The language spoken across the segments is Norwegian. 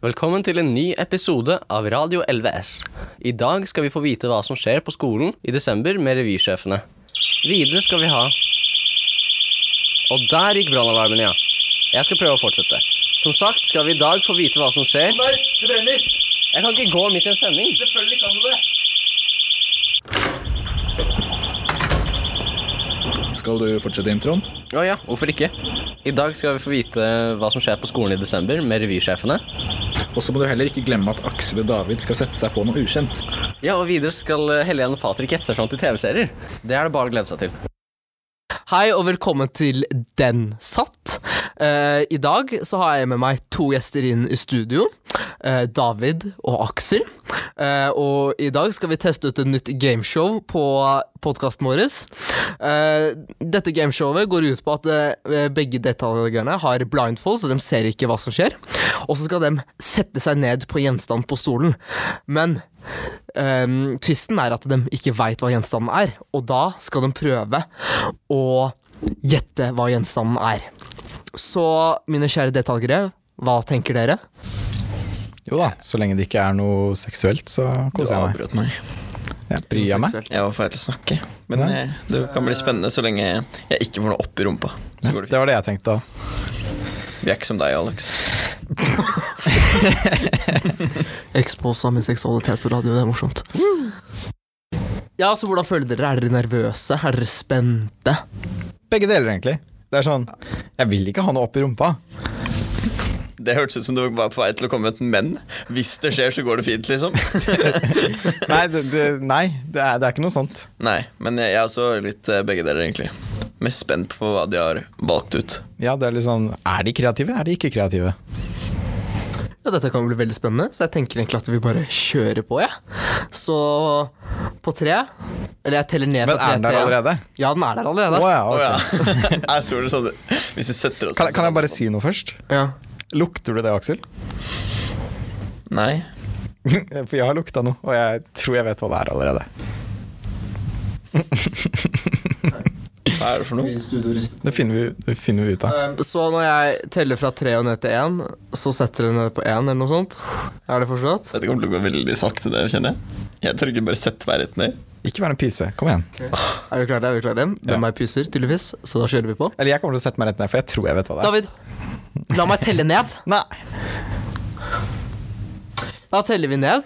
Velkommen til en ny episode av Radio 11S. I dag skal vi få vite hva som skjer på skolen i desember med revysjefene. Videre skal vi ha Og der gikk brannalarmen, ja. Jeg skal prøve å fortsette. Som sagt skal vi i dag få vite hva som skjer. Nei, det brenner! Jeg kan ikke gå midt i en sending. Selvfølgelig kan du det! Skal du fortsette introen? Å ja, hvorfor ikke? I dag skal vi få vite hva som skjer på skolen i desember med revysjefene. Og så må du heller ikke glemme at Aksel og David skal sette seg på noe ukjent. Ja, og videre skal Helene og Patrick gjette seg fram til TV-serier. Det er det bare å glede seg til. Hei og velkommen til Den satt. Eh, I dag så har jeg med meg to gjester inn i studio. eh, David og Aksel. Eh, og i dag skal vi teste ut et nytt gameshow på podkasten vår. Eh, dette gameshowet går ut på at eh, begge deltakerne har blindfold, så de ser ikke hva som skjer. Og så skal de sette seg ned på gjenstand på stolen. Men Um, tvisten er at de ikke veit hva gjenstanden er, og da skal de prøve å gjette hva gjenstanden er. Så mine kjære deltakere, hva tenker dere? Jo da, så lenge det ikke er noe seksuelt, så koser jeg meg. Brøt meg. Jeg bryr meg. Jeg var ferdig til å snakke. Men Nei. eh, det kan bli spennende så lenge jeg ikke får noe opp i rumpa. Så går det Det fint. var det jeg tenkte da. Vi er ikke som deg, Alex. Eksposa min seksualitet på radio, det er morsomt. Ja, så hvordan føler dere? Er dere nervøse? Er dere spente? Begge deler, egentlig. Det er sånn Jeg vil ikke ha noe opp i rumpa. Det hørtes ut som du var på vei til å komme med et men. Hvis det skjer, så går det fint, liksom. Nei, det, det, nei, det, er, det er ikke noe sånt. Nei, men jeg er også litt eh, begge deler, egentlig. Mest spent på hva de har valgt ut. Ja, det er litt sånn Er de kreative? Er de ikke kreative? Ja, dette kan bli veldig spennende, så jeg tenker egentlig at vi bare kjører på, jeg. Så på tre Eller jeg teller ned Men fra tre er den der til én. allerede? Ja, den er der allerede. Å ja, Å ok. ja. Jeg så det sånn Hvis vi setter oss Kan, kan jeg bare si noe først? Ja. Lukter du det, Aksel? sånn- Nei. For jeg har lukta noe, og jeg tror jeg vet hva det er allerede. Hva er det for noe? Det finner vi, det finner vi ut av. Um, Så når jeg teller fra tre og ned til én, så setter dere ned på én eller noe sånt? Er det forstått? Dette kommer til å gå veldig sakte, det kjenner jeg. Jeg tør ikke bare sette meg rett ned. Ikke vær en pyse. Kom igjen. Er vi klare? Er vi klare? De er pyser, tydeligvis, så da kjører vi på. Eller jeg kommer til å sette meg rett ned, for jeg tror jeg vet hva det er. David, la meg telle ned. Nei. Da teller vi ned.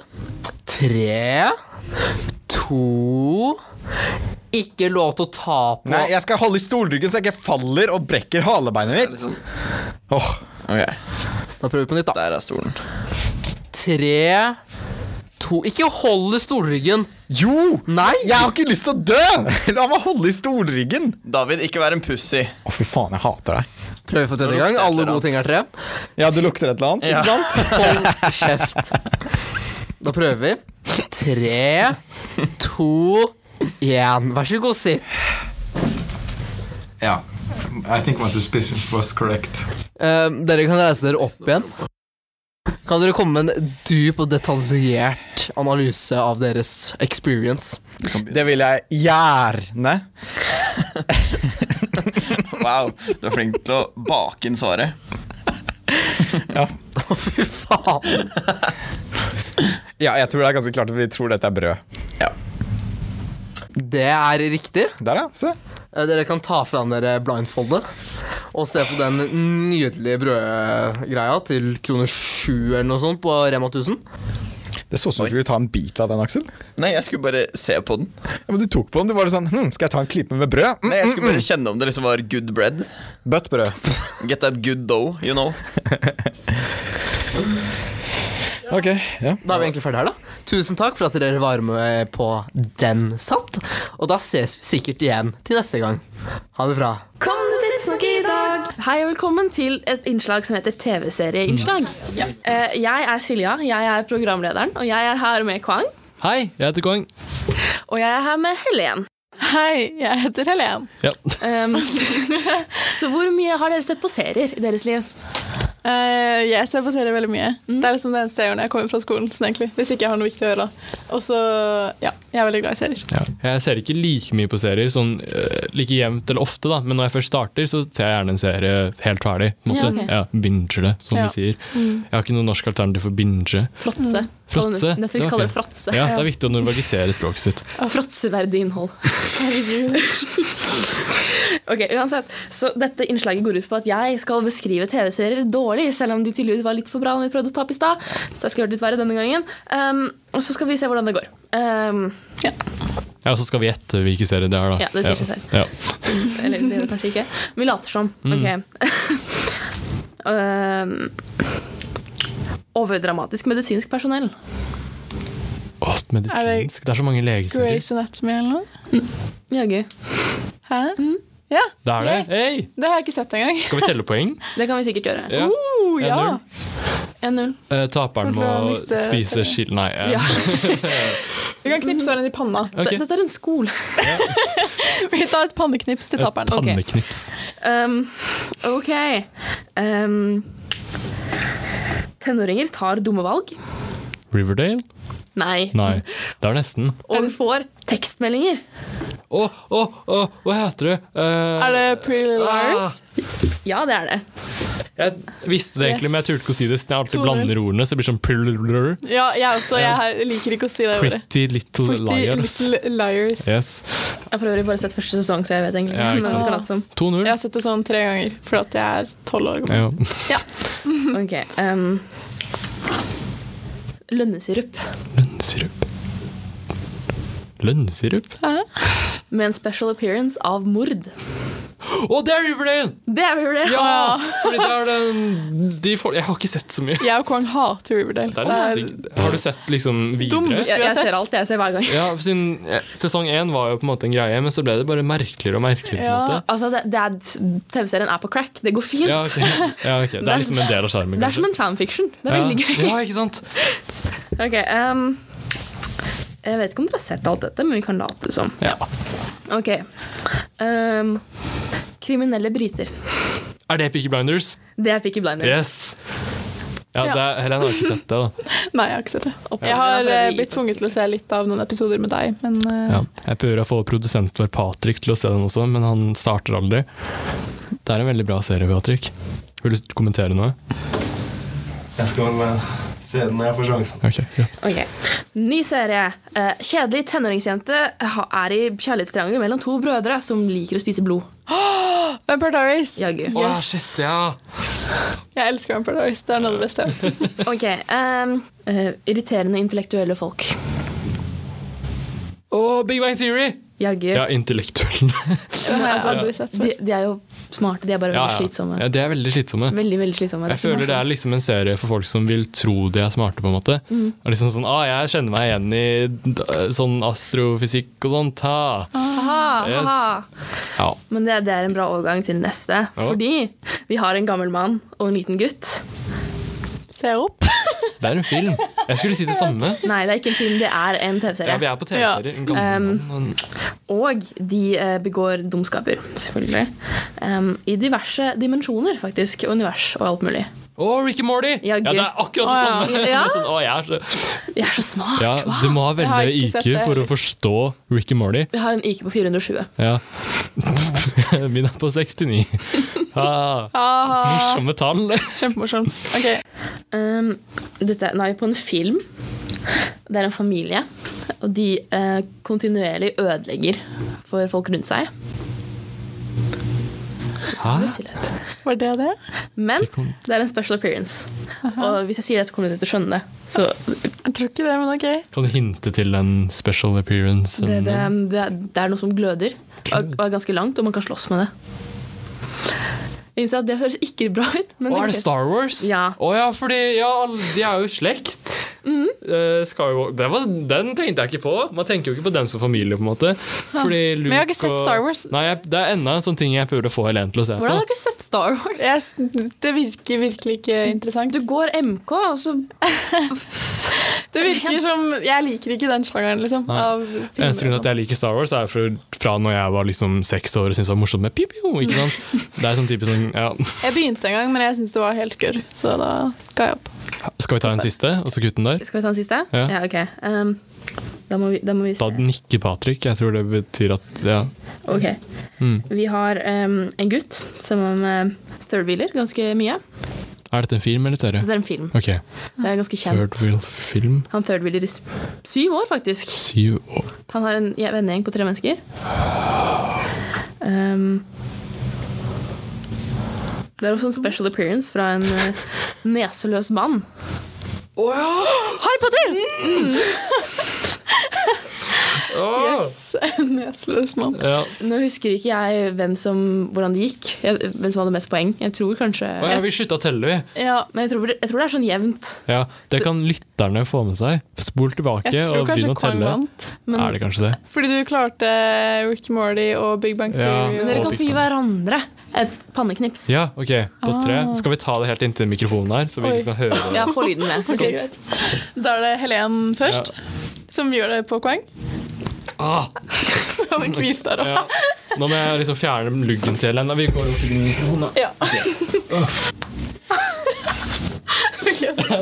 Tre, to Ikke lov til å ta på Nei, jeg skal holde i stolryggen så jeg ikke faller og brekker halebeinet mitt. Åh, Ok, Da prøver vi på nytt, da. der er stolen. Tre, to Ikke hold i stolryggen. Jo! Nei! Jeg har ikke lyst til å dø! La meg holde i stolryggen. David, ikke vær en pussy. Å, fy faen, jeg hater deg. Prøver for tredje Nå lukter gang. jeg et Alle eller gode ting er tre. Ja, du lukter et eller annet, Ja. ikke sant? Hold kjeft. Da prøver vi. Tre, to, én. Vær så god, sitt. Yeah, I think my suspicions was correct. Eh, dere kan reise dere opp igjen. Kan dere komme med en dyp og detaljert analyse av deres experience? Det vil jeg gjerne. Wow, du er flink til å bake inn svaret. Fy faen. Ja, jeg tror det er ganske klart at vi tror dette er brød. Det er riktig. Der, ja. Se. Eh, dere kan ta fra dere blindfoldet og se på den nydelige brødgreia til kroner sju eller noe sånt på Rema 1000. Det så ut som du skulle ta en bit av den, Aksel. Nei, jeg skulle bare se på den. Ja, men du tok på den. Du var sånn hm, Skal jeg ta en klype med brød? Mm, Nei, Jeg skulle bare kjenne om det liksom var good bread. Bøtt brød. Get that good dough, you know. Ok, ja. Da er vi egentlig ferdig her, da. Tusen takk for at dere var med på Den satt. Og da ses vi sikkert igjen til neste gang. Ha det bra. Kom du til Tidsnok i dag? Hei og velkommen til et innslag som heter TV-serieinnslag. Eh, Jeg er Silja, jeg er programlederen, og jeg er her med Kwang. Hei, jeg heter Kong. Og jeg er her med Helen. Hei, jeg heter Helen. Ja. Um, så hvor mye har dere sett på serier i deres liv? Eh, jeg ser på serier veldig mye. Mm. Det er liksom det eneste jeg gjør når jeg kommer fra skolen. Sånn egentlig, hvis ikke jeg har noe viktig å gjøre. Og så, ja, jeg er veldig glad i serier. Jeg ser ikke like mye på serier, sånn øh, like jevnt eller ofte, da. Men når jeg først starter, så ser jeg gjerne en serie helt ferdig. på en Ja, måte. ok. Ja, binger det, som Ja. vi sier. Jeg har ikke noe norsk alternativ for binge. Fråtse. Fråtse, Mm. det Netflix var kaller det fint. fråtse. Ja, det er viktig å normalisere språket sitt. Fråtseverdig innhold. ok, uansett. Så dette innslaget går ut på at jeg skal beskrive TV-serier dårlig, selv om de tydeligvis var litt for bra når vi prøvde å ta opp i stad. Så jeg skal gjøre det litt verre denne gangen. Um, og så skal vi se hvordan det går. Um, Ja, og så skal vi gjette hvilken serie det er, da. Ja, det sier seg selv. Ja. Mm. eller det gjør vi kanskje ikke. Vi later som. Ok. um, overdramatisk medisinsk personell. Åh, medisinsk. Det er så mange legeserier. Grey's Anatomy eller noe. Jaggu. Hæ? Mm. Ja, Det er det. Hei! det har jeg ikke sett engang. Skal vi telle poeng? Det kan vi sikkert gjøre. Ja. Oh, ja. 1-0. 1-0. Eh, taperen må Kommer til å miste spise skil... Nei. eh, Ja. Vi kan Mm. knipse hverandre i panna. Ok. D- Dette er en skole. Vi tar et panneknips til taperen. Ok. Panneknips. Um, ok. Um, tenåringer tar dumme valg. Riverdale? Nei. Nei. Det er nesten. Og vi får tekstmeldinger. Å, å, å, hva heter det? Eh, Er det Pretty Ah. Liars? Ja, det er det. Jeg visste det egentlig, men jeg turte ikke å si det. siden Jeg alltid 2-0. blander ordene, så det blir sånn prrrr, Ja, jeg også. Jeg har- liker ikke å si det ordet. Pretty little Pretty liars. Little Liars. Yes. Jeg har for øvrig bare sett første sesong, så jeg vet egentlig Ja, ikke hva det sant. kan late som. 2-0. Jeg har sett det sånn tre ganger, for at jeg er tolv år gammel. Ja. Ok. Um, lønnesirup Lønnsirup. Lønnsirup? med en special appearance av mord. Å, det er Riverdale! Det er jo det! Ja! Fordi det er den de folk, Jeg har ikke sett så mye. Jeg og Kong hater Riverdale. Det er den stygg- Har du sett liksom videre? Dummeste- Jeg, jeg sett. ser alt. Jeg ser hver gang. Ja, siden eh, Sesong én var jo på en måte en greie, men så ble det bare merkeligere og merkeligere. på en Ja. måte. Altså, det, det er, TV-serien er på crack. Det går fint. Ja, ok. ja, ok. Det er liksom en del av sjarmen, Det er som kanskje. en fanfiction. Det er Ja. veldig gøy. Ja, ikke sant? Ok, ehm, Jeg vet ikke om dere har sett alt dette, men vi kan late som. Ja. Ok. ehm, kriminelle briter. Er det Peaky Blinders? Det er Peaky Blinders. Yes! Ja, det er, Helen har ikke sett det, da. Nei, jeg har ikke sett det. Oppgaven Jeg er har fra eh, VG, blitt tvunget til å se litt av noen episoder med deg, men eh, Ja. Jeg prøver å få produsenten vår Patrick til å se den også, men han starter aldri. Det er en veldig bra serie, Patrick. Vil du kommentere noe? Jeg skal eh, se den når jeg får sjansen. Ok, ja. Ok. Ny serie. Eh, kjedelig tenåringsjente ha- er i kjærlighetstriangel mellom to brødre som liker å spise blod. Vampire Diaries! Jaggu. Åh, shit, ja. Jeg elsker Vampire Diaries. Det er noe av det beste jeg har sett. Ok, ehm, eh, Irriterende intellektuelle folk. Åh, Big Bang Theory! Jaggu. Ja, intellektuell. Det har jeg aldri sett før. De, de er jo smarte. De er bare Ja, veldig ja. slitsomme. ja, de er veldig slitsomme. Veldig, veldig slitsomme. Jeg føler det er liksom en serie for folk som vil tro de er smarte, på en måte. Og liksom sånn, ah, jeg kjenner meg igjen i d- sånn astrofysikk og sånt. Ha. Aha, Yes. aha. Ja. Men det, det er en bra overgang til neste. Fordi vi har en gammel mann og en liten gutt. Se opp. Det er en film. Jeg skulle si det samme. Nei, det er ikke en film, det er en Ja, vi TV-serie. er på TV-serier. En gammel Um, mann. og en- Og de eh, begår dumskaper, selvfølgelig. Em, I diverse dimensjoner, faktisk. Univers og alt mulig. Å, Ricky Morty! Ja, Ja, det er akkurat det Å, ja. samme. Ja. Sånn, å, jeg er så... Jeg er så smart! ja, wow. du må ha Jeg har veldig ikke IQ sett det. for å forstå Ricky Morty. Jeg har en IQ på 420. Ja. Min er på 69. Ah, Ah, morsomme tall. Kjempemorsom. Ok, Em, Um, dette, nå er vi på en film. Det er en familie. Og de eh, kontinuerlig ødelegger for folk rundt seg. Hæ? Det er stillhet. Var det det? Men Det kom- det er en special appearance. Og hvis jeg sier det, så kommer du til å skjønne det. Så Jeg tror ikke det, men ok. Kan du hinte til den special appearance? det, det, det, er- det er noe som gløder, og, og er ganske langt, og man kan slåss med det. Jeg innser at det høres ikke bra ut. Men Å, er det det Star Wars? Ja. Å ja, fordi ja, alle- de er jo i slekt. Mhm. Eh, Skywalk det var, Den tenkte jeg ikke på. Man tenker jo ikke på dem som familie. på en måte Fordi Luke Men jeg har ikke sett og- Star Wars. Nei, jeg, Det er enda en sånn ting jeg prøver å få Helen til å se Hvordan på. har dere sett Star Wars? Jeg, s- det virker virkelig ikke interessant. Du går MK, og så Det Det virker som Jeg liker ikke den sjangeren, liksom. Nei. Av filmer, Eneste grunn og til at jeg liker Star Wars, er fra, fra når jeg var liksom seks år og syntes det var morsomt med pipio. ikke sant? Det er sånn typisk sånn ja, sånn. jeg begynte en gang, men jeg syntes det var helt gørr, så da ga jeg opp. Skal vi ta en Altså, siste, og så kutte den der? Skal vi ta den siste? Ja. ok. Um, da, må vi, da må vi Da se. nikker Patrick. Jeg tror det betyr at ja. Ok. Mm. Vi har um, en gutt som um, thirdwheeler ganske mye. Er dette en film eller serie? Det er en film. Ok. Det er ganske Third kjent. Wheel Film. Han thirdwheeler i sp- syv år, faktisk. Syv år. Han har en je- vennegjeng på tre mennesker. Um, det er også en special appearance fra en eh, neseløs mann. Harry Potter! Yes. En neseløs mann. Ja. Nå husker ikke jeg hvem som, hvordan det gikk, jeg, hvem som hadde mest poeng. Jeg tror kanskje Å ja, vi slutta å telle, vi. Ja. Nei, jeg, tror, jeg tror det er sånn jevnt. Ja, Det kan lytterne få med seg. Spol tilbake Jeg tror og kanskje begynn å Kong telle. vant. men- Er det kanskje det? Fordi du klarte eh, Rick Morty og Big Bang Ja. Theory. Men dere Og Og, kan få gi Big Bang. hverandre et panneknips. Ja, ok. På tre. Skal vi ta det helt inntil mikrofonen her, så vi Ah. Oi. ikke kan høre det? Ja, få lyden med. Ok, greit. Da er det Helen først, som gjør det på poeng. Ah, Det var en quiz der også. ja. Nå må jeg liksom fjerne luggen til henne. Vi går jo til mikrofonen, da. Ja. Ok.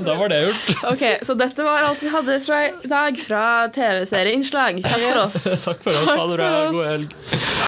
Da var det gjort. Ok, Så dette var alt vi hadde fra i dag fra TV-serieinnslag. Takk for oss. Takk for oss. Ha det bra. for oss. God helg.